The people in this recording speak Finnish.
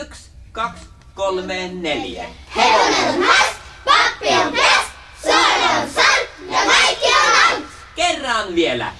Yksi, kaksi, kolme, neljä. Hevonen on has, pappi on pes, suora on san ja kaikki on ans. Kerran vielä.